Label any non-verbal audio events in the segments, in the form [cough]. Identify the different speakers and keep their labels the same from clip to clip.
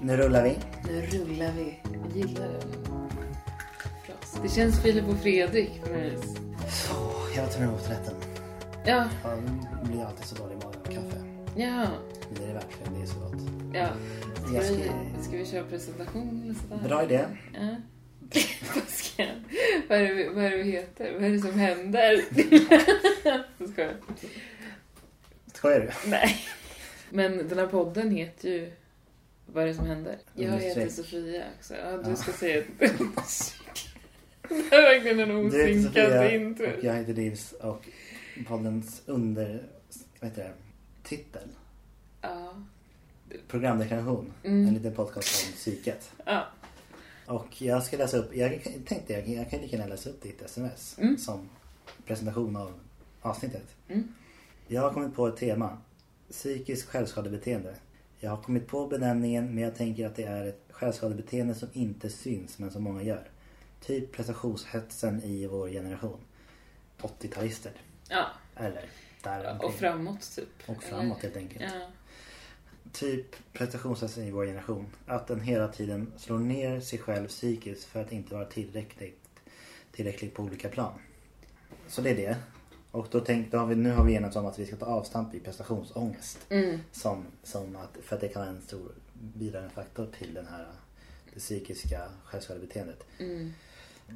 Speaker 1: Nu rullar vi.
Speaker 2: Nu rullar vi. Jag gillar det. Bra. Det känns Filip och Fredrik på något vis.
Speaker 1: Åh, jag tar emot rätten.
Speaker 2: Ja,
Speaker 1: Han blir alltid så dålig i magen av kaffe.
Speaker 2: ja,
Speaker 1: Men det är det verkligen. Det är så gott.
Speaker 2: ja. Ska
Speaker 1: Jag ska...
Speaker 2: vi, ska vi köra presentation eller sådär?
Speaker 1: Bra idé.
Speaker 2: Ja. Vad ska jag- vad, är det, vi- vad är det vi heter? Vad är det som [laughs] händer? Jag skojar.
Speaker 1: Skojar du?
Speaker 2: Nej. Men den här podden heter ju Vad är det som händer? Jag heter
Speaker 1: Understreck.
Speaker 2: Sofia också. Ja, du
Speaker 1: Ja. [laughs]
Speaker 2: ska säga ett Det är verkligen en
Speaker 1: Du heter
Speaker 2: osynkad intro.
Speaker 1: Sofia och jag heter Nils och poddens under... Vad heter det? Titel?
Speaker 2: Ja.
Speaker 1: Programdeklaration. En
Speaker 2: Mm.
Speaker 1: liten podcast om psyket.
Speaker 2: ja.
Speaker 1: Och jag ska läsa upp... Jag kan- tänkte jag, jag kan lika gärna läsa upp ditt sms
Speaker 2: Mm.
Speaker 1: som presentation av avsnittet.
Speaker 2: Mm.
Speaker 1: Jag har kommit på ett tema. Psykisk självskadebeteende. Jag har kommit på benämningen men jag tänker att det är ett självskadebeteende som inte syns men som många gör. Typ prestationshetsen i vår generation. 80-talister.
Speaker 2: ja.
Speaker 1: Eller där
Speaker 2: Och framåt typ.
Speaker 1: och framåt helt enkelt.
Speaker 2: Ja.
Speaker 1: Typ prestationshetsen i vår generation. Att den hela tiden slår ner sig själv psykiskt för att inte vara tillräckligt, tillräckligt på olika plan. Så det är det. Och då tänk, då har vi, nu har vi enats om att vi ska ta avstamp i prestationsångest.
Speaker 2: Mm.
Speaker 1: Som, som att, för att det kan vara en stor bidragande faktor till den här, det psykiska självskadebeteendet.
Speaker 2: Mm.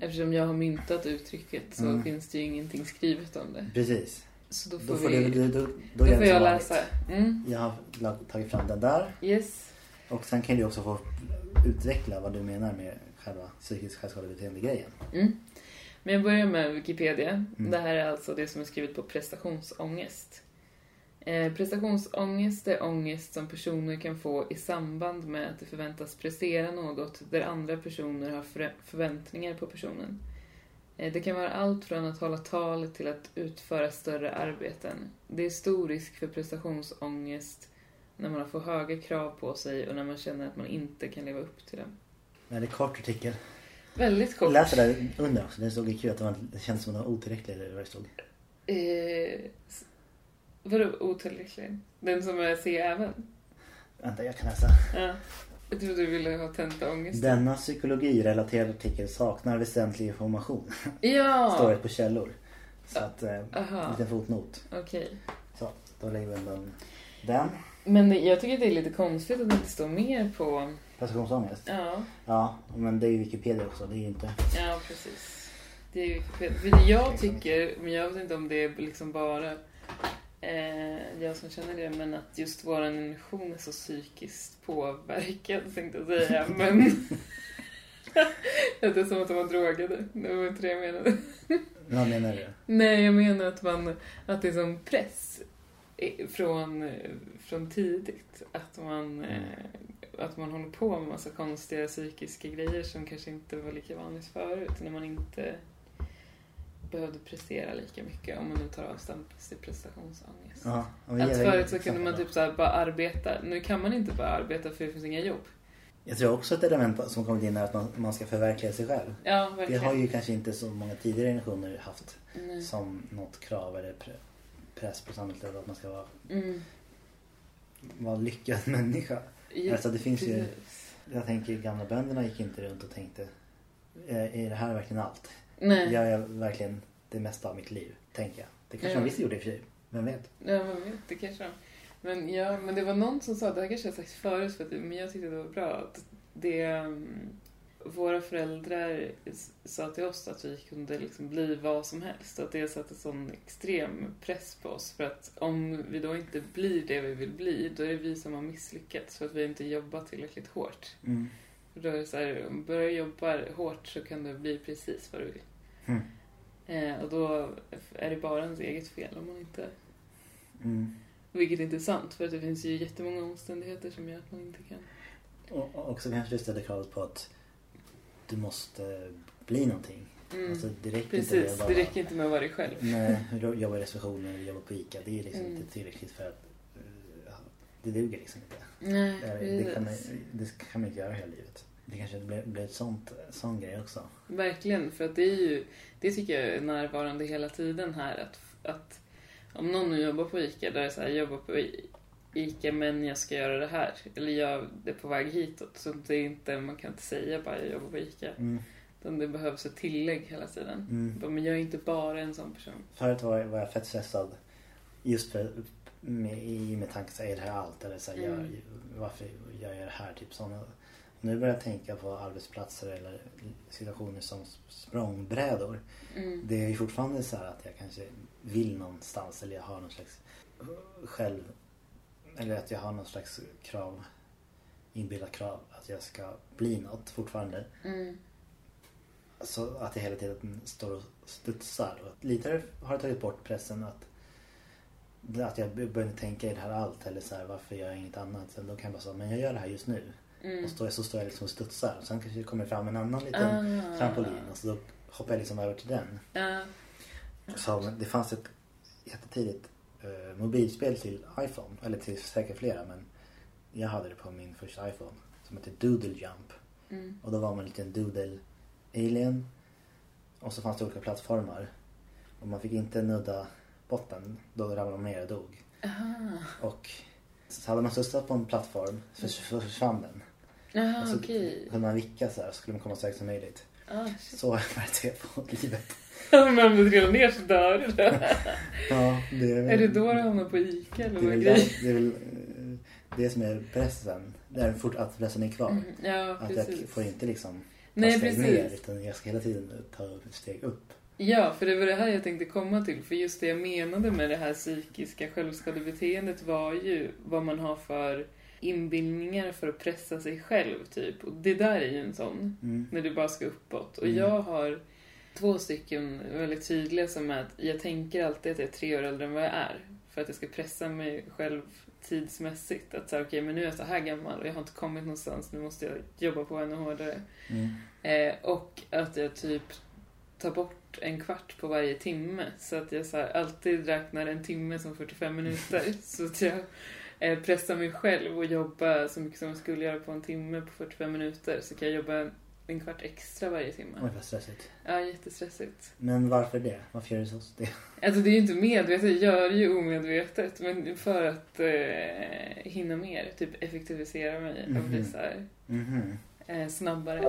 Speaker 2: Eftersom jag har myntat uttrycket så
Speaker 1: Mm.
Speaker 2: finns det ju ingenting skrivet om det.
Speaker 1: Precis.
Speaker 2: Så då får,
Speaker 1: Då får,
Speaker 2: vi,
Speaker 1: du, du, då,
Speaker 2: då
Speaker 1: då gör
Speaker 2: får
Speaker 1: vi som
Speaker 2: jag
Speaker 1: vanligt.
Speaker 2: läsa. Mm.
Speaker 1: Jag har lag- tagit fram den där.
Speaker 2: Yes.
Speaker 1: Och sen kan du också få utveckla vad du menar med själva psykisk självskadebeteende-grejen.
Speaker 2: Mm. Men jag börjar med Wikipedia.
Speaker 1: Mm.
Speaker 2: Det här är alltså det som är skrivet på prestationsångest. Eh, prestationsångest är ångest som personer kan få i samband med att de förväntas prestera något där andra personer har förä- förväntningar på personen. Eh, det kan vara allt från att hålla tal till att utföra större arbeten. Det är stor risk för prestationsångest när man får höga krav på sig och när man känner att man inte kan leva upp till dem.
Speaker 1: Väldigt kort artikel.
Speaker 2: Väldigt kort.
Speaker 1: Läs det där under också. Det stod i kul att det, var, det kändes som att det var otillräckligt eller vad det stod.
Speaker 2: Eh, s- vadå otillräcklig? Den som är C även?
Speaker 1: Vänta, jag kan läsa.
Speaker 2: Ja. Jag trodde du ville ha tentaångest.
Speaker 1: Denna psykologirelaterade artikel saknar väsentlig information. Står
Speaker 2: Mm. Ja!
Speaker 1: det på källor. Så att, eh,
Speaker 2: Aha,
Speaker 1: liten fotnot.
Speaker 2: okej.
Speaker 1: Så, då lägger vi undan den.
Speaker 2: Men det- jag tycker det är lite konstigt att det inte står mer på...
Speaker 1: Prestationsångest.
Speaker 2: Ja,
Speaker 1: Ja, men det är ju Wikipedia också. Det är ju inte...
Speaker 2: ja precis. Det är ju... för Jag tycker, men jag vet inte om det är liksom bara eh, jag som känner det, men att just vår generation är så psykiskt påverkad tänkte jag säga, men... [laughs] att det är som att de var drogade. Det var inte det jag menade.
Speaker 1: Vad menar du?
Speaker 2: Nej, jag menar att, man, att det är som press eh, från, eh, från tidigt. Att man, eh, att man håller på med massa konstiga psykiska grejer som kanske inte var lika vanligt förut. När man inte behövde prestera lika mycket om man nu tar avstamp i sin prestationsångest.
Speaker 1: Ja, om vi
Speaker 2: Att
Speaker 1: ger-
Speaker 2: förut så kunde man typ så här bara arbeta. Nu kan man inte bara arbeta för det finns inga jobb.
Speaker 1: Jag tror också ett element som kommit in är att man, man ska förverkliga sig själv.
Speaker 2: Ja,
Speaker 1: Det
Speaker 2: verkligen.
Speaker 1: har ju kanske inte så många tidigare generationer haft
Speaker 2: Nej.
Speaker 1: som något krav eller pre- press på samhället att man ska vara,
Speaker 2: Mm.
Speaker 1: vara lyckad [laughs] människa.
Speaker 2: Ja,
Speaker 1: Alltså, det finns ju-
Speaker 2: precis.
Speaker 1: Jag tänker gamla bönderna gick inte runt och tänkte är är det här verkligen allt?
Speaker 2: Nej,
Speaker 1: Gör jag verkligen det mesta av mitt liv? Tänker jag. Det kanske
Speaker 2: Ja.
Speaker 1: man visst gjorde i och för sig. Vem vet?
Speaker 2: Ja, man vet, det kanske de. Men, ja, men det var någon som sa, det här kanske jag sagt förut, för att, men jag tyckte det var bra. Att det, um, våra föräldrar s- sa till oss att vi kunde liksom bli vad som helst. Att det satte sån extrem press på oss. För att om vi då inte blir det vi vill bli, då är det vi som har misslyckats för att vi inte jobbat tillräckligt hårt.
Speaker 1: Mm.
Speaker 2: För Då är det så här, om du börjar jobba hårt så kan du bli precis vad du vill.
Speaker 1: Mm.
Speaker 2: Eh, och då är det bara ens eget fel om man inte
Speaker 1: Mm.
Speaker 2: vilket är intressant för att det finns ju jättemånga omständigheter som gör att man inte kan.
Speaker 1: Och och också kanske det ställer kravet på att du måste bli någonting.
Speaker 2: Mm.
Speaker 1: Alltså, det räcker inte med
Speaker 2: Precis,
Speaker 1: att bara-
Speaker 2: det räcker inte med att vara dig själv.
Speaker 1: Nej, jo- jobba i receptionen eller jobba på ICA. Det är liksom
Speaker 2: Mm.
Speaker 1: inte tillräckligt för att... eh, ja, Det duger liksom inte.
Speaker 2: Nej,
Speaker 1: Det,
Speaker 2: precis.
Speaker 1: det, kan, man- det kan man inte göra hela livet. Det kanske blir, blir ett sånt, sån grej också.
Speaker 2: Verkligen, för att det är ju, det tycker jag är närvarande hela tiden här att, att om någon nu jobbar på ICA, där det är så här, jobbar på I- ICA men jag ska göra det här. Eller jag är på väg hitåt. Så det är inte, man kan inte säga bara jag jobbar på ICA.
Speaker 1: Mm.
Speaker 2: Utan det behövs ett tillägg hela tiden.
Speaker 1: Mm.
Speaker 2: Bara, Men jag är inte bara en sån person.
Speaker 1: Förut var, var jag fett stressad. Just för, med, i med tanken så här, är det här allt? Eller så här,
Speaker 2: Mm.
Speaker 1: gör, varför gör jag det här? Typ sådana. Nu börjar jag tänka på arbetsplatser eller situationer som språngbrädor.
Speaker 2: Mm.
Speaker 1: Det är ju fortfarande så här att jag kanske vill någonstans eller jag har någon slags själv... Eller att jag har någon slags krav, inbillat krav att jag ska bli något fortfarande.
Speaker 2: Mm.
Speaker 1: Så att jag hela tiden står och studsar. Och lite har jag tagit bort pressen att, att jag börjar inte tänka i det här allt eller så här, varför gör jag inget annat? Sen då kan jag bara säga, men jag gör det här just nu.
Speaker 2: Mm.
Speaker 1: Och så står jag, så står jag liksom och studsar. Och sen kanske det kommer fram en annan liten
Speaker 2: Ah.
Speaker 1: trampolin och så då hoppar jag liksom över till den.
Speaker 2: Ja.
Speaker 1: Som, det fanns ett jättetidigt eh, mobilspel till iPhone, eller till säkert flera men jag hade det på min första iPhone som hette Doodle Jump.
Speaker 2: Mm.
Speaker 1: Och då var man en liten Doodle Alien och så fanns det olika plattformar. Och man fick inte nudda botten, då ramlade man ner och dog.
Speaker 2: Aha.
Speaker 1: Och så hade man studsat på en plattform så försvann den.
Speaker 2: Aha,
Speaker 1: Och så
Speaker 2: okej.
Speaker 1: kunde man vicka så här så skulle man komma så högt som möjligt.
Speaker 2: Ah, shit.
Speaker 1: Så var det på livet.
Speaker 2: Men [laughs] om du trillar ner så dör du.
Speaker 1: Ja, det
Speaker 2: Är det då du hamnar på ICA
Speaker 1: Mm.
Speaker 2: eller
Speaker 1: Det är
Speaker 2: vad är
Speaker 1: väl
Speaker 2: grejen?
Speaker 1: det, det, är väl, eh, det som är pressen. Det är fort att pressen är kvar.
Speaker 2: Mm, Ja,
Speaker 1: att jag
Speaker 2: precis.
Speaker 1: får inte liksom ta
Speaker 2: Nej,
Speaker 1: steg
Speaker 2: precis.
Speaker 1: ner utan jag ska hela tiden ta steg upp.
Speaker 2: Ja, för det var det här jag tänkte komma till. För just det jag menade med det här psykiska självskadebeteendet var ju vad man har för inbildningar för att pressa sig själv, typ. Och det där är ju en sån,
Speaker 1: Mm.
Speaker 2: när du bara ska uppåt. Och
Speaker 1: Mm.
Speaker 2: jag har två stycken väldigt tydliga som är att jag tänker alltid att jag är tre år äldre än vad jag är. För att jag ska pressa mig själv tidsmässigt. Att säga okej, men nu är jag så här gammal och jag har inte kommit någonstans, nu måste jag jobba på ännu hårdare.
Speaker 1: Mm.
Speaker 2: Eh, och att jag typ tar bort en kvart på varje timme. Så att jag så här, alltid räknar en timme som
Speaker 1: [laughs]
Speaker 2: 45 minuter. så att jag eh, pressar mig själv och jobbar så mycket som jag skulle göra på en timme på 45 minuter. Så kan jag jobba en kvart extra varje timme.
Speaker 1: Oj vad stressigt.
Speaker 2: Ja, jättestressigt.
Speaker 1: Men varför det? Varför gör du så? Det?
Speaker 2: Alltså det är ju inte medvetet, jag gör det ju omedvetet. Men för att eh, hinna mer, typ effektivisera mig och bli
Speaker 1: Mhm.
Speaker 2: så här,
Speaker 1: Mhm.
Speaker 2: eh, snabbare.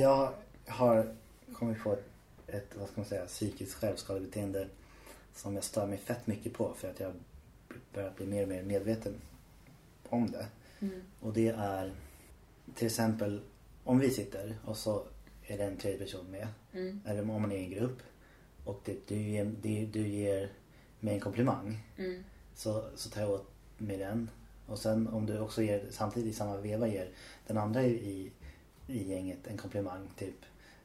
Speaker 1: Jag har kommit på ett, vad ska man säga, psykiskt självskadebeteende som jag stör mig fett mycket på för att jag börjar bli mer och mer medveten om det.
Speaker 2: Mm.
Speaker 1: Och det är till exempel om vi sitter och så är det en tredje person med.
Speaker 2: Mm.
Speaker 1: Eller om man är i en grupp. Och det, du, ger, det, du ger mig en komplimang.
Speaker 2: Mm.
Speaker 1: Så, så tar jag åt mig den. Och sen om du också ger, samtidigt i samma veva ger den andra i, i gänget en komplimang. Typ,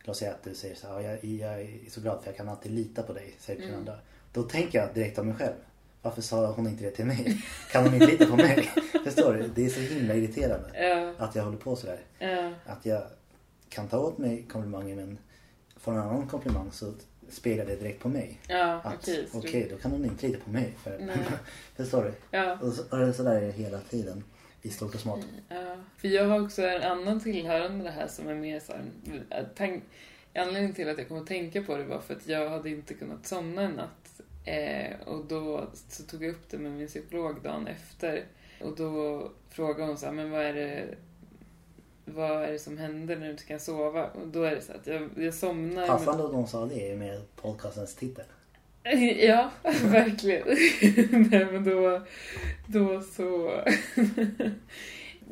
Speaker 1: låt säga att du säger så här, "Ja, jag, jag är så glad för jag kan alltid lita på dig, säger du till den
Speaker 2: Mm.
Speaker 1: andra. Då tänker jag direkt om mig själv. Varför sa hon inte det till mig? Kan hon inte lita på mig? Förstår du? Det är så himla irriterande
Speaker 2: Ja,
Speaker 1: att jag håller på sådär
Speaker 2: ja.
Speaker 1: att jag kan ta åt mig komplimangen men får en annan komplimang så speglar det direkt på mig.
Speaker 2: Ja,
Speaker 1: Att
Speaker 2: okej.
Speaker 1: okej,
Speaker 2: så du-
Speaker 1: då kan hon inte lita på mig. För,
Speaker 2: Nej.
Speaker 1: [laughs] förstår du?
Speaker 2: Ja.
Speaker 1: Och så, och det är så där är det hela tiden. I stort och smått.
Speaker 2: ja. För jag har också en annan tillhörande det här som är mer så här, att tank... Anledningen till att jag kom att tänka på det var för att jag hade inte kunnat somna en natt. Eh, och då så tog jag upp det med min psykolog dagen efter. Och då frågade hon så här, men vad är det vad är det som händer när du inte kan sova? Och då är det så att jag, jag somnar... men-
Speaker 1: Passande att de sa det är med podcastens titel.
Speaker 2: [laughs] Ja, verkligen. [laughs] Nej, men då, då så... [laughs]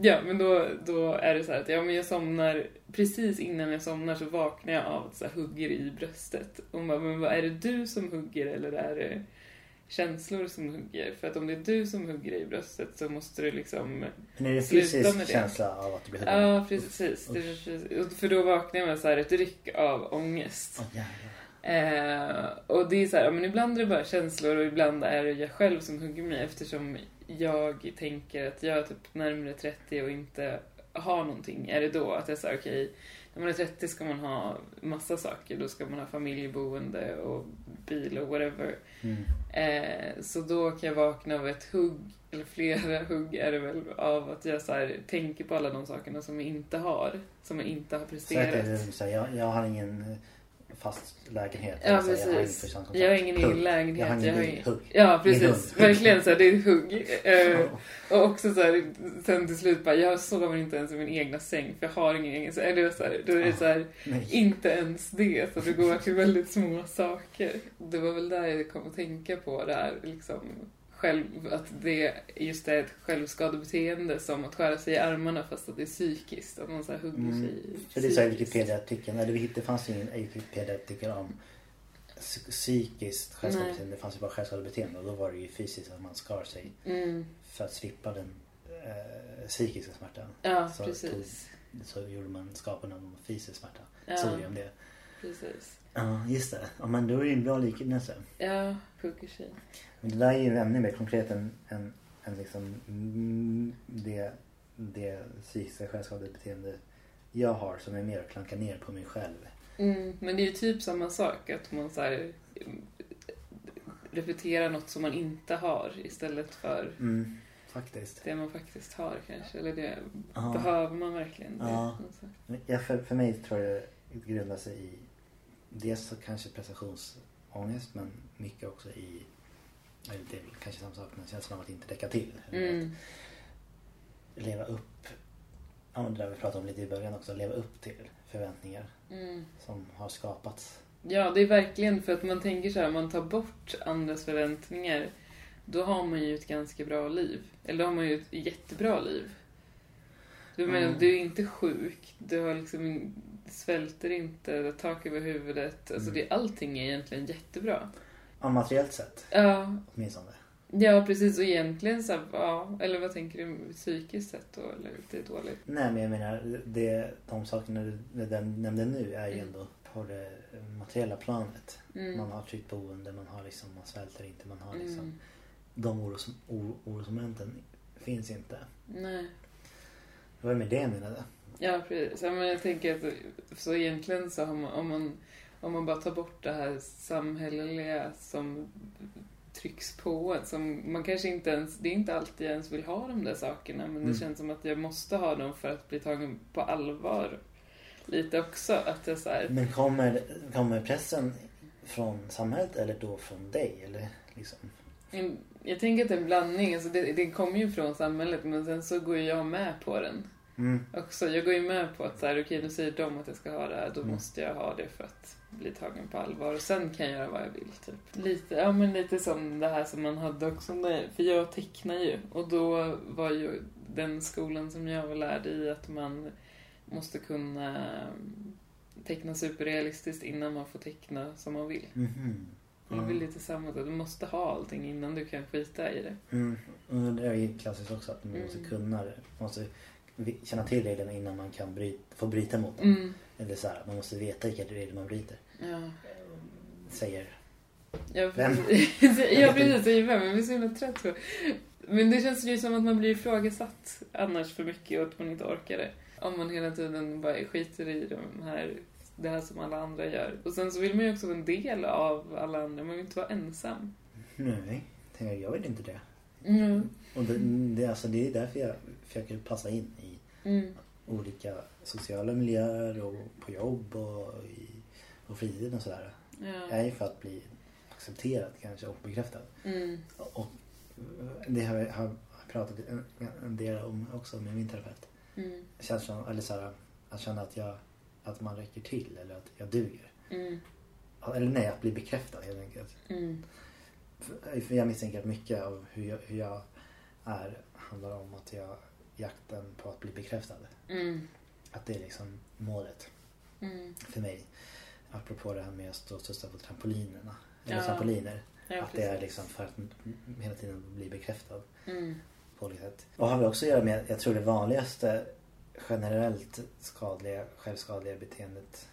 Speaker 2: ja, men då, då är det så här att ja, men jag somnar, precis innan jag somnar så vaknar jag av att så här, hugger i bröstet. Och man, men vad är det du som hugger eller är det känslor som hugger? För att om det är du som hugger i bröstet så måste du liksom...
Speaker 1: Men är det en
Speaker 2: Sluta med
Speaker 1: fysisk
Speaker 2: det.
Speaker 1: känsla av att du blir huggen?
Speaker 2: Ja, precis. Det, precis. För då vaknar jag med så här ett ryck av ångest.
Speaker 1: Åh, jävlar.
Speaker 2: Eh, och det är så här, ja, men ibland är det bara känslor och ibland är det jag själv som hugger mig eftersom jag tänker att jag är typ närmare 30 och inte har någonting, är det då att jag säger okej, när man är 30 ska man ha massa saker, då ska man ha familjeboende och bil och whatever.
Speaker 1: Mm.
Speaker 2: Eh, så då kan jag vakna av ett hugg, eller flera [laughs] hugg är det väl, av att jag så här, tänker på alla de sakerna som jag inte har, som jag inte har
Speaker 1: Säg att
Speaker 2: presterat.
Speaker 1: det är så här, jag, jag har ingen eh, fast lägenhet.
Speaker 2: Ja,
Speaker 1: Eller så här, Jag har ingen
Speaker 2: precis.
Speaker 1: förstånd kontrakt.
Speaker 2: Jag har ingen
Speaker 1: Hugg.
Speaker 2: egen lägenhet.
Speaker 1: Jag har ingen
Speaker 2: ingen-
Speaker 1: bil. Hugg.
Speaker 2: Ja,
Speaker 1: Ingen
Speaker 2: precis.
Speaker 1: hund.
Speaker 2: Verkligen så här, det är ett hugg. Eh,
Speaker 1: Ja.
Speaker 2: och också så här, sen till slut bara, jag sover inte ens i min egna säng för jag har ingen egen säng. Eller så här, då är det så här,
Speaker 1: [laughs] Nej.
Speaker 2: inte ens det. Så det går till väldigt små saker. Det var väl där jag kom att tänka på det här, liksom, själv, att det just är ett självskadebeteende som att skära sig i armarna fast att det är psykiskt. Att man så här hugger
Speaker 1: Mm.
Speaker 2: sig
Speaker 1: För det är så här
Speaker 2: psykiskt.
Speaker 1: Wikipedia-artikeln. Eller vi hittade- det fanns ingen Wikipedia-artikel om psy- psykiskt självskadebeteende. Det fanns ju bara självskadebeteende. Och då var det ju fysiskt att man skar sig
Speaker 2: Mm.
Speaker 1: för att slippa den eh, psykiska smärtan.
Speaker 2: Ja,
Speaker 1: Så
Speaker 2: precis.
Speaker 1: Så gjorde man skapen av fysisk smärta. Såg
Speaker 2: Ja,
Speaker 1: vi om det?
Speaker 2: precis.
Speaker 1: Ja, just det. Ja, men då är det ju en bra liknelse.
Speaker 2: Ja, hugger sig.
Speaker 1: Men det där är ju ännu mer konkret än, än, än liksom mm, det, det psykiska självskadebeteende jag har som är mer att klanka ner på mig själv.
Speaker 2: Mm, men det är ju typ samma sak, att man så här, repeterar något som man inte har istället för
Speaker 1: Mm, faktiskt.
Speaker 2: det man faktiskt har kanske. Eller det,
Speaker 1: Ja.
Speaker 2: behöver man verkligen det?
Speaker 1: Ja.
Speaker 2: Alltså.
Speaker 1: Men jag- För, för mig tror jag det grundar sig i dels så kanske prestationsångest men mycket också i, eller det är väl kanske samma sak, men känslan av att inte räcka till.
Speaker 2: Mm,
Speaker 1: Att leva upp, ja men det där vi pratade om lite i början också, leva upp till förväntningar
Speaker 2: mm.
Speaker 1: som har skapats.
Speaker 2: Ja, det är verkligen för att man tänker så här, man tar bort andras förväntningar, då har man ju ett ganska bra liv. Eller då har man ju ett jättebra liv. Du menar,
Speaker 1: Mm.
Speaker 2: du är inte sjuk, du har liksom, svälter inte, du har tak över huvudet. Alltså
Speaker 1: Mm.
Speaker 2: det, allting är egentligen jättebra.
Speaker 1: Ja, materiellt sett
Speaker 2: Ja,
Speaker 1: åtminstone.
Speaker 2: ja precis. Och egentligen så här, ja, eller vad tänker du psykiskt sett då? Eller det är dåligt.
Speaker 1: Nej men jag menar, det, de sakerna du du nämnde nu är ju
Speaker 2: Mm.
Speaker 1: ändå på det materiella planet.
Speaker 2: Mm.
Speaker 1: Man har tryggt boende, man har liksom, man svälter inte, man har liksom
Speaker 2: Mm.
Speaker 1: de oros, o- orosmomenten finns inte.
Speaker 2: Nej.
Speaker 1: Det var med det jag menade.
Speaker 2: Ja, precis. Ja, men jag tänker att så egentligen så har man, om man, om man bara tar bort det här samhälleliga som trycks på en, som man kanske inte ens, det är inte alltid jag ens vill ha de där sakerna, men det
Speaker 1: Mm.
Speaker 2: känns som att jag måste ha dem för att bli tagen på allvar. Lite också, att jag så här,
Speaker 1: Men kommer, kommer pressen från samhället eller då från dig? Eller liksom?
Speaker 2: en- jag tänker att det är en blandning, alltså det, det kommer ju från samhället, men sen så går ju jag med på den.
Speaker 1: Mm.
Speaker 2: Också, jag går ju med på att så här, okej nu säger de att jag ska ha det här, då
Speaker 1: Mm.
Speaker 2: måste jag ha det för att bli tagen på allvar och sen kan jag göra vad jag vill. Typ. Lite, ja, men lite som det här som man hade också, när- för jag tecknar ju och då var ju den skolan som jag var lärd i att man måste kunna teckna superrealistiskt innan man får teckna som man vill.
Speaker 1: Mhm.
Speaker 2: Det är väl lite samma, där. du måste ha allting innan du kan skita i det.
Speaker 1: Mm. Och Det är ju klassiskt också att man måste
Speaker 2: Mm.
Speaker 1: kunna det. Man måste vi- känna till reglerna innan man kan bry, få bryta mot dem.
Speaker 2: Mm.
Speaker 1: Eller så här, man måste veta vilka regler man bryter.
Speaker 2: Ja.
Speaker 1: Säger
Speaker 2: Ja,
Speaker 1: Vem?
Speaker 2: precis. ja precis, [laughs] jag är med, men jag är så himla trött på Men det känns ju som att man blir ifrågasatt annars för mycket och att man inte orkar det. Om man hela tiden bara skiter i de här, det här som alla andra gör. Och sen så vill man ju också vara en del av alla andra, man vill inte vara ensam.
Speaker 1: nej. Tänker jag, jag vill inte det.
Speaker 2: Mm.
Speaker 1: Och det, det, alltså, det är därför jag försöker passa in i
Speaker 2: Mm.
Speaker 1: olika sociala miljöer och på jobb och i och fritiden och sådär.
Speaker 2: Ja.
Speaker 1: Är ju för att bli accepterad kanske och bekräftad.
Speaker 2: Mm.
Speaker 1: Och eh, det har jag har jag pratat en, en del om också med min terapeut.
Speaker 2: Mm.
Speaker 1: Känslan, eller såhär, att känna att jag, att man räcker till eller att jag duger.
Speaker 2: Mm.
Speaker 1: Eller nej, att bli bekräftad helt enkelt.
Speaker 2: Mm.
Speaker 1: För för jag misstänker att mycket av hur jag, hur jag är handlar om att jag jakten på att bli bekräftad.
Speaker 2: Mm.
Speaker 1: Att det är liksom målet.
Speaker 2: Mm.
Speaker 1: för mig. Apropå det här med att stå och studsa på trampolinerna. Eller
Speaker 2: Ja,
Speaker 1: trampoliner.
Speaker 2: Ja,
Speaker 1: att det är
Speaker 2: precis.
Speaker 1: liksom för att m- m- hela tiden bli bekräftad
Speaker 2: Mm.
Speaker 1: på olika sätt. Och har väl också att göra med, jag tror det vanligaste generellt skadliga, självskadliga beteendet,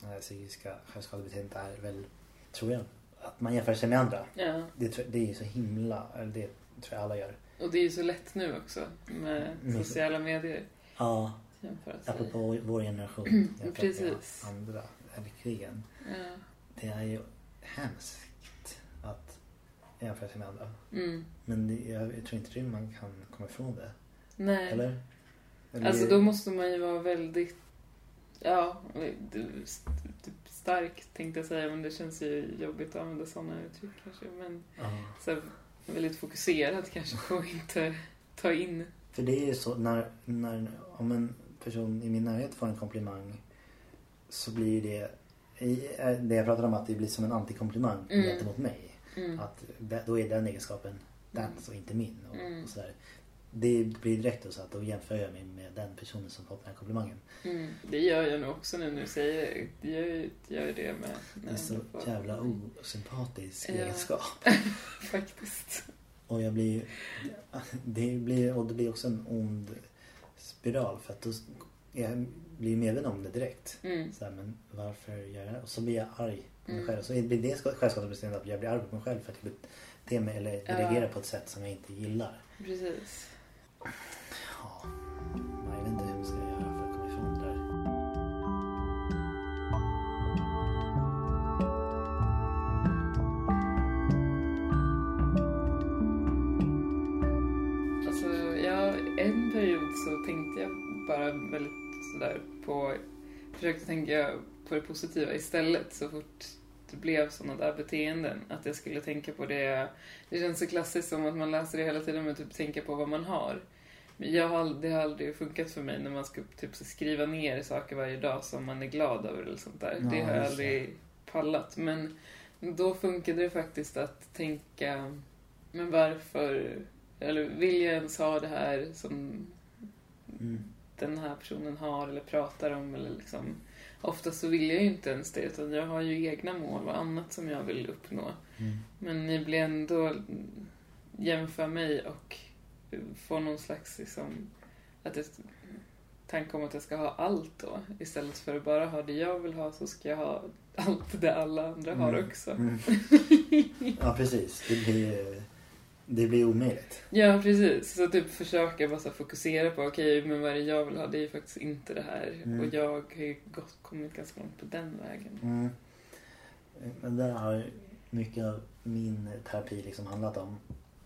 Speaker 1: det här psykiska självskadebeteendet är väl, tror jag, att man jämför sig med andra.
Speaker 2: Ja.
Speaker 1: Det, tror- det är ju så himla, eller det tror jag alla gör.
Speaker 2: Och det är ju så lätt nu också med
Speaker 1: Mm.
Speaker 2: sociala medier.
Speaker 1: Ja, Ja,
Speaker 2: jämföra sig.
Speaker 1: apropå vår
Speaker 2: [clears throat]
Speaker 1: generation. jämfört med
Speaker 2: Precis.
Speaker 1: Andra världskrigen.
Speaker 2: Ja.
Speaker 1: Det är ju hemskt att jämföra sig med andra.
Speaker 2: Mm.
Speaker 1: Men det, jag tror inte det man kan komma ifrån det.
Speaker 2: Nej.
Speaker 1: Eller? Eller-
Speaker 2: Alltså då måste man ju vara väldigt, ja, du- typ stark tänkte jag säga, men det känns ju jobbigt att använda sådana uttryck kanske. Men
Speaker 1: Ja.
Speaker 2: så här, väldigt fokuserad kanske på att inte ta in.
Speaker 1: För det är ju så, när, när, om en person i min närhet får en komplimang så blir ju det, i- eh, det jag pratade om att det blir som en antikomplimang
Speaker 2: Mm.
Speaker 1: gentemot mig.
Speaker 2: Mm.
Speaker 1: Att det- då är den egenskapen dens och inte min. Och,
Speaker 2: Mm.
Speaker 1: och sådär. Det blir direkt då så att då jämför jag mig med den personen som fått den här komplimangen.
Speaker 2: Mm. Det gör jag nog också nu när du säger det. det. Gör, ju- gör ju det med.
Speaker 1: Det är så
Speaker 2: med-
Speaker 1: Alltså, jävla osympatisk
Speaker 2: Ja.
Speaker 1: egenskap.
Speaker 2: Faktiskt.
Speaker 1: Och jag blir ju- det blir, och det blir också en ond spiral för att då jag blir medveten om det direkt.
Speaker 2: Mm.
Speaker 1: Så här, men varför gör jag det? Och så blir jag arg på mig
Speaker 2: Mm.
Speaker 1: själv. Så blir det ska- självskadebeteende att jag blir arg på mig själv för att jag beter mig eller
Speaker 2: Ja.
Speaker 1: reagerar på ett sätt som jag inte gillar.
Speaker 2: Precis.
Speaker 1: Ja, men jag vet inte hur man ska göra för att komma ifrån det där.
Speaker 2: Alltså, ja, en period så tänkte jag bara väldigt sådär på... Försökte tänka på det positiva istället så fort det blev sådana där beteenden. Att jag skulle tänka på det... Det känns så klassiskt som att man läser det hela tiden men typ tänka på vad man har. Men jag har, ald- det har aldrig funkat för mig när man ska typ så skriva ner saker varje dag som man är glad över eller sånt där.
Speaker 1: Ja,
Speaker 2: det har jag
Speaker 1: just det.
Speaker 2: aldrig pallat. Men då funkade det faktiskt att tänka, men varför eller vill jag ens ha det här som
Speaker 1: Mm.
Speaker 2: den här personen har eller pratar om? Eller liksom. Oftast så vill jag ju inte ens det, utan jag har ju egna mål och annat som jag vill uppnå.
Speaker 1: Mm.
Speaker 2: Men ni blir ändå jämför mig och får någon slags liksom, att jag, tanke om att jag ska ha allt då. Istället för att bara ha det jag vill ha så ska jag ha allt det alla andra har
Speaker 1: Mm.
Speaker 2: också.
Speaker 1: Mm.
Speaker 2: [laughs]
Speaker 1: Ja, precis. Det blir, det blir omöjligt.
Speaker 2: Ja, precis. Så typ försöka bara så här fokusera på okej, men vad är det jag vill ha? Det är ju faktiskt inte det här.
Speaker 1: Mm.
Speaker 2: Och jag har ju gått, kommit ganska långt på den vägen.
Speaker 1: Mm. Men där har mycket av min terapi liksom handlat om.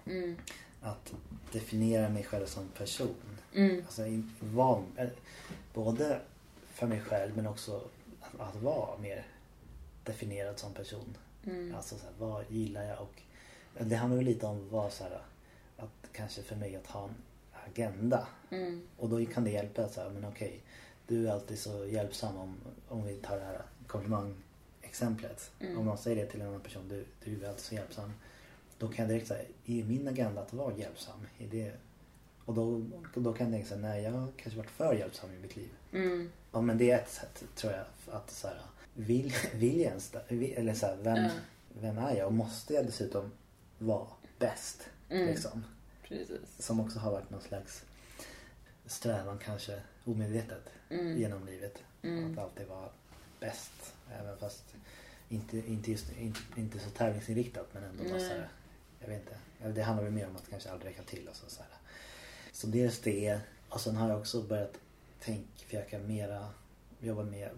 Speaker 2: Mm.
Speaker 1: Att definiera mig själv som person.
Speaker 2: Mm.
Speaker 1: Alltså in- vara, eh, både för mig själv men också att, att vara mer definierad som person.
Speaker 2: Mm.
Speaker 1: Alltså så här, vad gillar jag och det handlar väl lite om vad så här, att kanske för mig att ha en agenda.
Speaker 2: Mm.
Speaker 1: Och då kan det hjälpa att så här, men okej, du är alltid så hjälpsam om, om vi tar det här komplimangexemplet.
Speaker 2: Mm.
Speaker 1: Om någon säger det till en annan person, du, du är alltid så hjälpsam. Då kan jag direkt säga, är min agenda att vara hjälpsam? Är det... Och då, då kan jag tänka så här, nej jag har kanske varit för hjälpsam i mitt liv.
Speaker 2: Mm.
Speaker 1: Ja men det är ett sätt tror jag att så här, vill, [laughs] vill jag ens det? Vill- Eller så här, vem,
Speaker 2: Ja.
Speaker 1: vem är jag? Och måste jag dessutom vara bäst?
Speaker 2: Mm.
Speaker 1: Liksom
Speaker 2: Precis.
Speaker 1: som också har varit någon slags strävan kanske omedvetet
Speaker 2: Mm.
Speaker 1: genom livet.
Speaker 2: Mm.
Speaker 1: Att alltid vara bäst. Även fast inte, inte, just, inte, inte så tävlingsinriktat men ändå bara
Speaker 2: Nej.
Speaker 1: så här, Jag vet inte. Ja, Det handlar väl mer om att kanske aldrig räcka till och så, så här. Så dels det. Och sen har jag också börjat tänka, försöka mera jobba med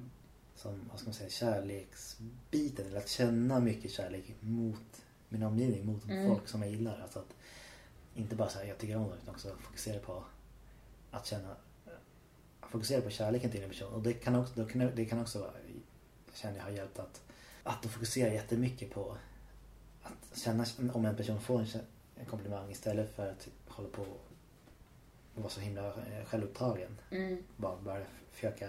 Speaker 1: som, vad ska man säga, kärleksbiten. Eller att känna mycket kärlek mot min omgivning, mot
Speaker 2: Mm.
Speaker 1: folk som jag gillar. Alltså att inte bara säga jag tycker om dem utan också fokusera på att känna att fokusera på kärleken till en person. Och det kan också, då kan, det kan också vara, känner jag har hjälpt att, att då fokusera jättemycket på att känna om en person får en, kä- en komplimang istället för att hålla på och vara så himla eh, självupptagen.
Speaker 2: Mm.
Speaker 1: Bara, bara försöka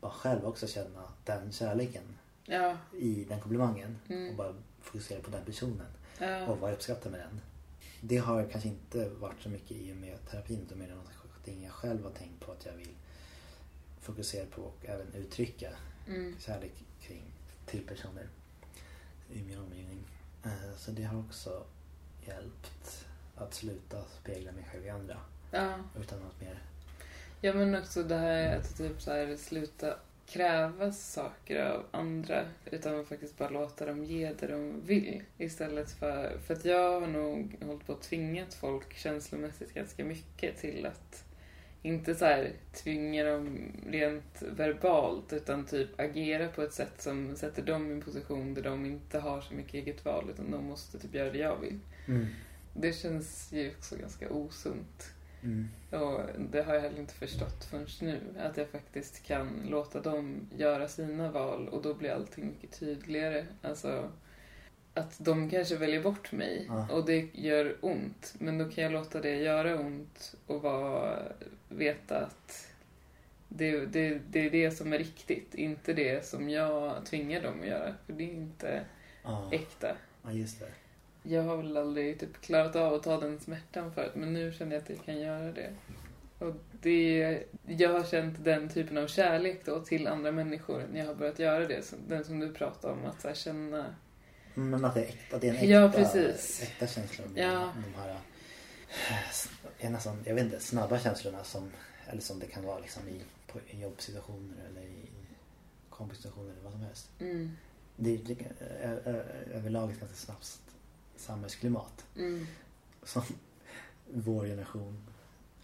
Speaker 1: bara själv också känna den kärleken
Speaker 2: Ja.
Speaker 1: i den komplimangen och
Speaker 2: Mm.
Speaker 1: bara fokusera på den personen
Speaker 2: Ja.
Speaker 1: och vad jag uppskattar med den. Det har jag kanske inte varit så mycket i och med terapin utan mer någonting jag själv har tänkt på att jag vill fokusera på och även uttrycka
Speaker 2: Mm.
Speaker 1: kärlek kring till personer i min omgivning. Eh, Så det har också hjälpt att sluta spegla mig själv i andra
Speaker 2: Ja.
Speaker 1: utan något mer.
Speaker 2: Ja men också det här att typ så här, sluta kräva saker av andra utan faktiskt bara låta dem ge det de vill istället för... För att jag har nog hållit på och tvingat folk känslomässigt ganska mycket till att Inte så här tvinga dem rent verbalt utan typ agera på ett sätt som sätter dem i en position där de inte har så mycket eget val utan de måste typ göra det jag vill.
Speaker 1: Mm.
Speaker 2: Det känns ju också ganska osunt.
Speaker 1: Mm.
Speaker 2: Och det har jag heller inte förstått förrän nu. Att jag faktiskt kan låta dem göra sina val och då blir allting mycket tydligare. Alltså att de kanske väljer bort mig
Speaker 1: Ja.
Speaker 2: och det gör ont. Men då kan jag låta det göra ont och vara, veta att det, det, det är det som är riktigt, inte det som jag tvingar dem att göra. För det är inte
Speaker 1: Ja,
Speaker 2: äkta.
Speaker 1: ja, just det.
Speaker 2: Jag har väl aldrig typ klarat av att ta den smärtan förut men nu känner jag att jag kan göra det. Och det, jag har känt den typen av kärlek då till andra människor när jag har börjat göra det. som- Den som du pratade om, att så här känna...
Speaker 1: Men att det är, äkta, att det är en äkta,
Speaker 2: Ja, precis.
Speaker 1: äkta känsla. med
Speaker 2: Ja.
Speaker 1: De här, eh, är nästan, jag vet inte, snabba känslorna som, eller som det kan vara liksom i, på, i jobbsituationer eller i kompissituationer eller vad som helst.
Speaker 2: Mm,
Speaker 1: Det, det är ö- överlag ett ganska snabbt samhällsklimat
Speaker 2: mm,
Speaker 1: som [laughs] vår generation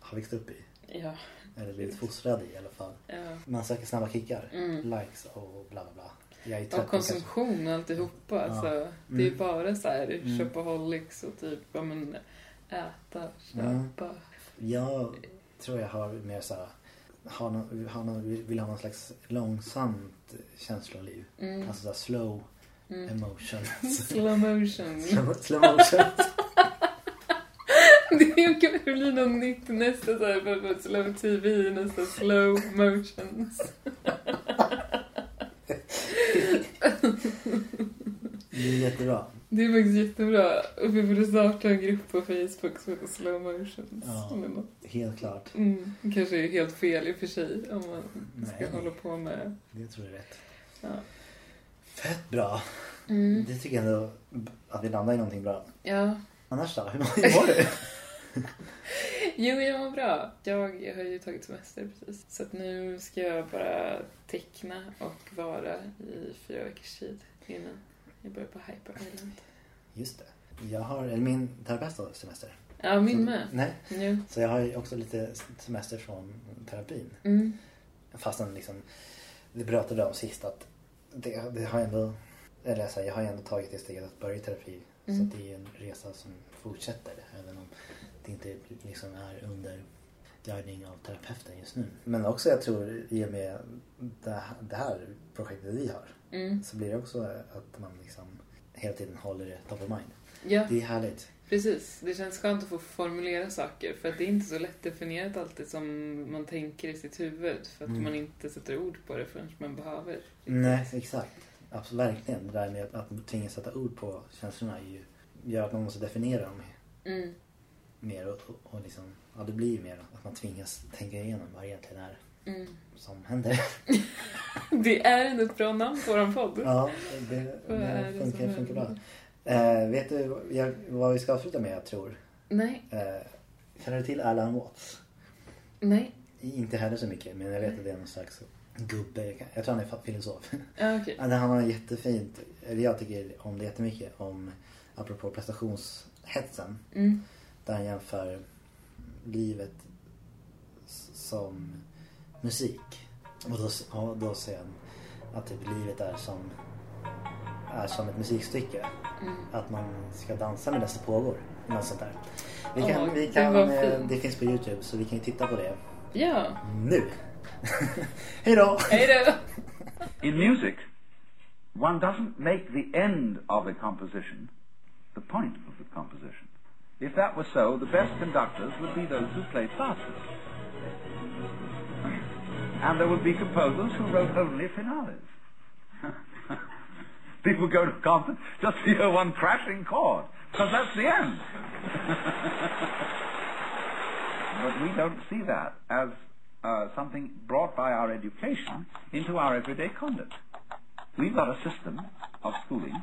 Speaker 1: har växt upp i.
Speaker 2: ja,
Speaker 1: Eller blivit fostrad i i alla fall.
Speaker 2: ja.
Speaker 1: Man söker snabba kickar.
Speaker 2: Mm.
Speaker 1: Likes och bla bla bla. Jag är trött
Speaker 2: Och
Speaker 1: på kanske-
Speaker 2: konsumtion och alltihopa.
Speaker 1: Ja.
Speaker 2: Alltså, Det är ju
Speaker 1: Mm.
Speaker 2: bara så här
Speaker 1: Mm.
Speaker 2: shopaholics och typ, ja men äta,
Speaker 1: Mm.
Speaker 2: köpa.
Speaker 1: Jag tror jag har mer så här, har någon, har någon, vill ha någon slags långsamt känsloliv.
Speaker 2: Mm.
Speaker 1: Alltså så här slow
Speaker 2: Mm. [laughs]
Speaker 1: emotion. Alltså, [laughs]
Speaker 2: Slow motion.
Speaker 1: slow, slow motion.
Speaker 2: [laughs] Det är Carolina nytt nästa så här, för att slow tv, nästa slow motions.
Speaker 1: Det är jättebra.
Speaker 2: Det är faktiskt jättebra. Och vi borde starta en grupp på Facebook som heter slow motions.
Speaker 1: Ja.
Speaker 2: Eller något.
Speaker 1: Helt klart.
Speaker 2: Mm. Kanske är helt fel i och för sig om man ska
Speaker 1: Nej,
Speaker 2: hålla på med...
Speaker 1: det tror jag är rätt.
Speaker 2: Ja.
Speaker 1: Fett bra.
Speaker 2: Mm.
Speaker 1: Det tycker jag ändå att vi landar i någonting bra.
Speaker 2: Ja.
Speaker 1: Annars då? Hur
Speaker 2: [laughs]
Speaker 1: mår du?
Speaker 2: Jo, jag mår bra. Jag har ju tagit semester precis. Så att nu ska jag bara teckna och vara i fyra veckors tid innan jag börjar på Hyper Island.
Speaker 1: Just det. Jag har, eller min terapeut har semester.
Speaker 2: Ja,
Speaker 1: Mm.
Speaker 2: min med.
Speaker 1: Nej.
Speaker 2: Jo.
Speaker 1: Så jag har ju också lite semester från terapin.
Speaker 2: Mm.
Speaker 1: Fastän liksom, det pratade vi om sist att det, det har ändå, eller så här, jag har ju ändå tagit det steget att börja i terapi.
Speaker 2: Mm.
Speaker 1: Så det är en resa som fortsätter även om det inte liksom är under guidning av terapeuten just nu. Men också jag tror i och med det, det här projektet vi har
Speaker 2: Mm.
Speaker 1: så blir det också att man liksom hela tiden håller det top of mind.
Speaker 2: Ja,
Speaker 1: Det är härligt.
Speaker 2: precis. Det känns skönt att få formulera saker för att det är inte så lätt definierat alltid som man tänker i sitt huvud för att
Speaker 1: Mm.
Speaker 2: man inte sätter ord på det förrän man behöver.
Speaker 1: Nej, exakt. Absolut, verkligen. Det där med att, att tvingas sätta ord på känslorna är ju, gör att man måste definiera dem
Speaker 2: Mm.
Speaker 1: mer och, och, och liksom, ja det blir ju mer att man tvingas tänka igenom vad det egentligen är
Speaker 2: Mm.
Speaker 1: som händer.
Speaker 2: [laughs] Det är ändå ett bra namn på vår podd.
Speaker 1: Ja, det,
Speaker 2: Vad är
Speaker 1: det
Speaker 2: det
Speaker 1: funkar,
Speaker 2: som
Speaker 1: funkar bra.
Speaker 2: händer?
Speaker 1: Eh, vet du jag, vad vi ska avsluta med, jag tror?
Speaker 2: Nej,
Speaker 1: Eh, känner du till Alan Watts?
Speaker 2: nej.
Speaker 1: Inte heller så mycket, men jag vet att det är någon slags gubbe. Jag kan- Jag tror han är filosof. [laughs]
Speaker 2: Ja, okej.
Speaker 1: Ja, det här var jättefint. Eller jag tycker om det jättemycket. Om, apropå prestationshetsen.
Speaker 2: Mm.
Speaker 1: Där han jämför livet s- som musik. Och då, s- och då säger han att typ livet är som, är som ett musikstycke.
Speaker 2: Mm.
Speaker 1: Att man ska dansa medan det pågår. Något sånt där. Vi kan,
Speaker 2: Åh,
Speaker 1: vi
Speaker 2: det
Speaker 1: kan,
Speaker 2: var
Speaker 1: eh,
Speaker 2: fint.
Speaker 1: det finns på Youtube så vi kan ju titta på det
Speaker 2: Ja,
Speaker 1: nu. [laughs] Hej då!
Speaker 2: hej då!
Speaker 3: In music, one doesn't make the end of a composition the point of the composition. If that were so, the best conductors would be those who play fastest. And there would be composers who wrote only finales. [laughs] People go to a concert just to hear one crashing chord, because that's the end. but we don't see that as uh, something brought by our education into our everyday conduct. We've got a system of schooling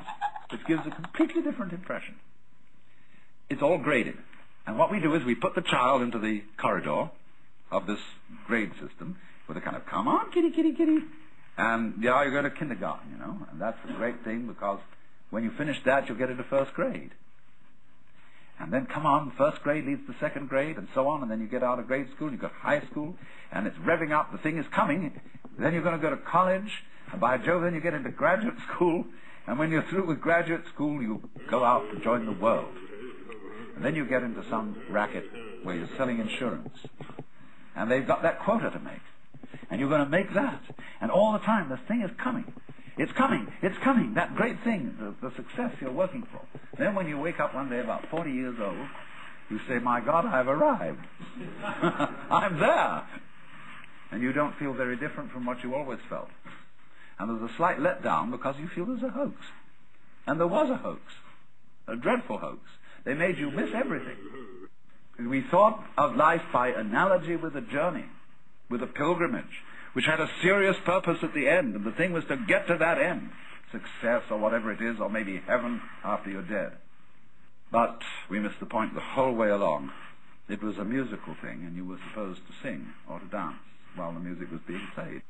Speaker 3: which gives a completely different impression. It's all graded. And what we do is we put the child into the corridor of this grade system with a kind of, come on, kitty, kitty, kitty. And yeah, you go to kindergarten, you know. And that's a great thing because when you finish that, you'll get into first grade. And then come on, first grade leads to second grade, and so on, and then you get out of grade school, you've got high school, and it's revving up, the thing is coming. Then you're going to go to college, and by Jove, then you get into graduate school, and when you're through with graduate school, you go out to join the world. And then you get into some racket where you're selling insurance. And they've got that quota to make. And you're going to make that. And all the time, this thing is coming. It's coming. It's coming. That great thing, the, the success you're working for. Then when you wake up one day about 40 years old, you say, My God, I've arrived. [laughs] I'm there. And you don't feel very different from what you always felt. And there's a slight letdown because you feel there's a hoax. And there was a hoax. A dreadful hoax. They made you miss everything. We thought of life by analogy with a journey, with a pilgrimage, which had a serious purpose at the end, and the thing was to get to that end success or whatever it is, or maybe heaven after you're dead. But we missed the point the whole way along. It was a musical thing, and you were supposed to sing or to dance while the music was being played.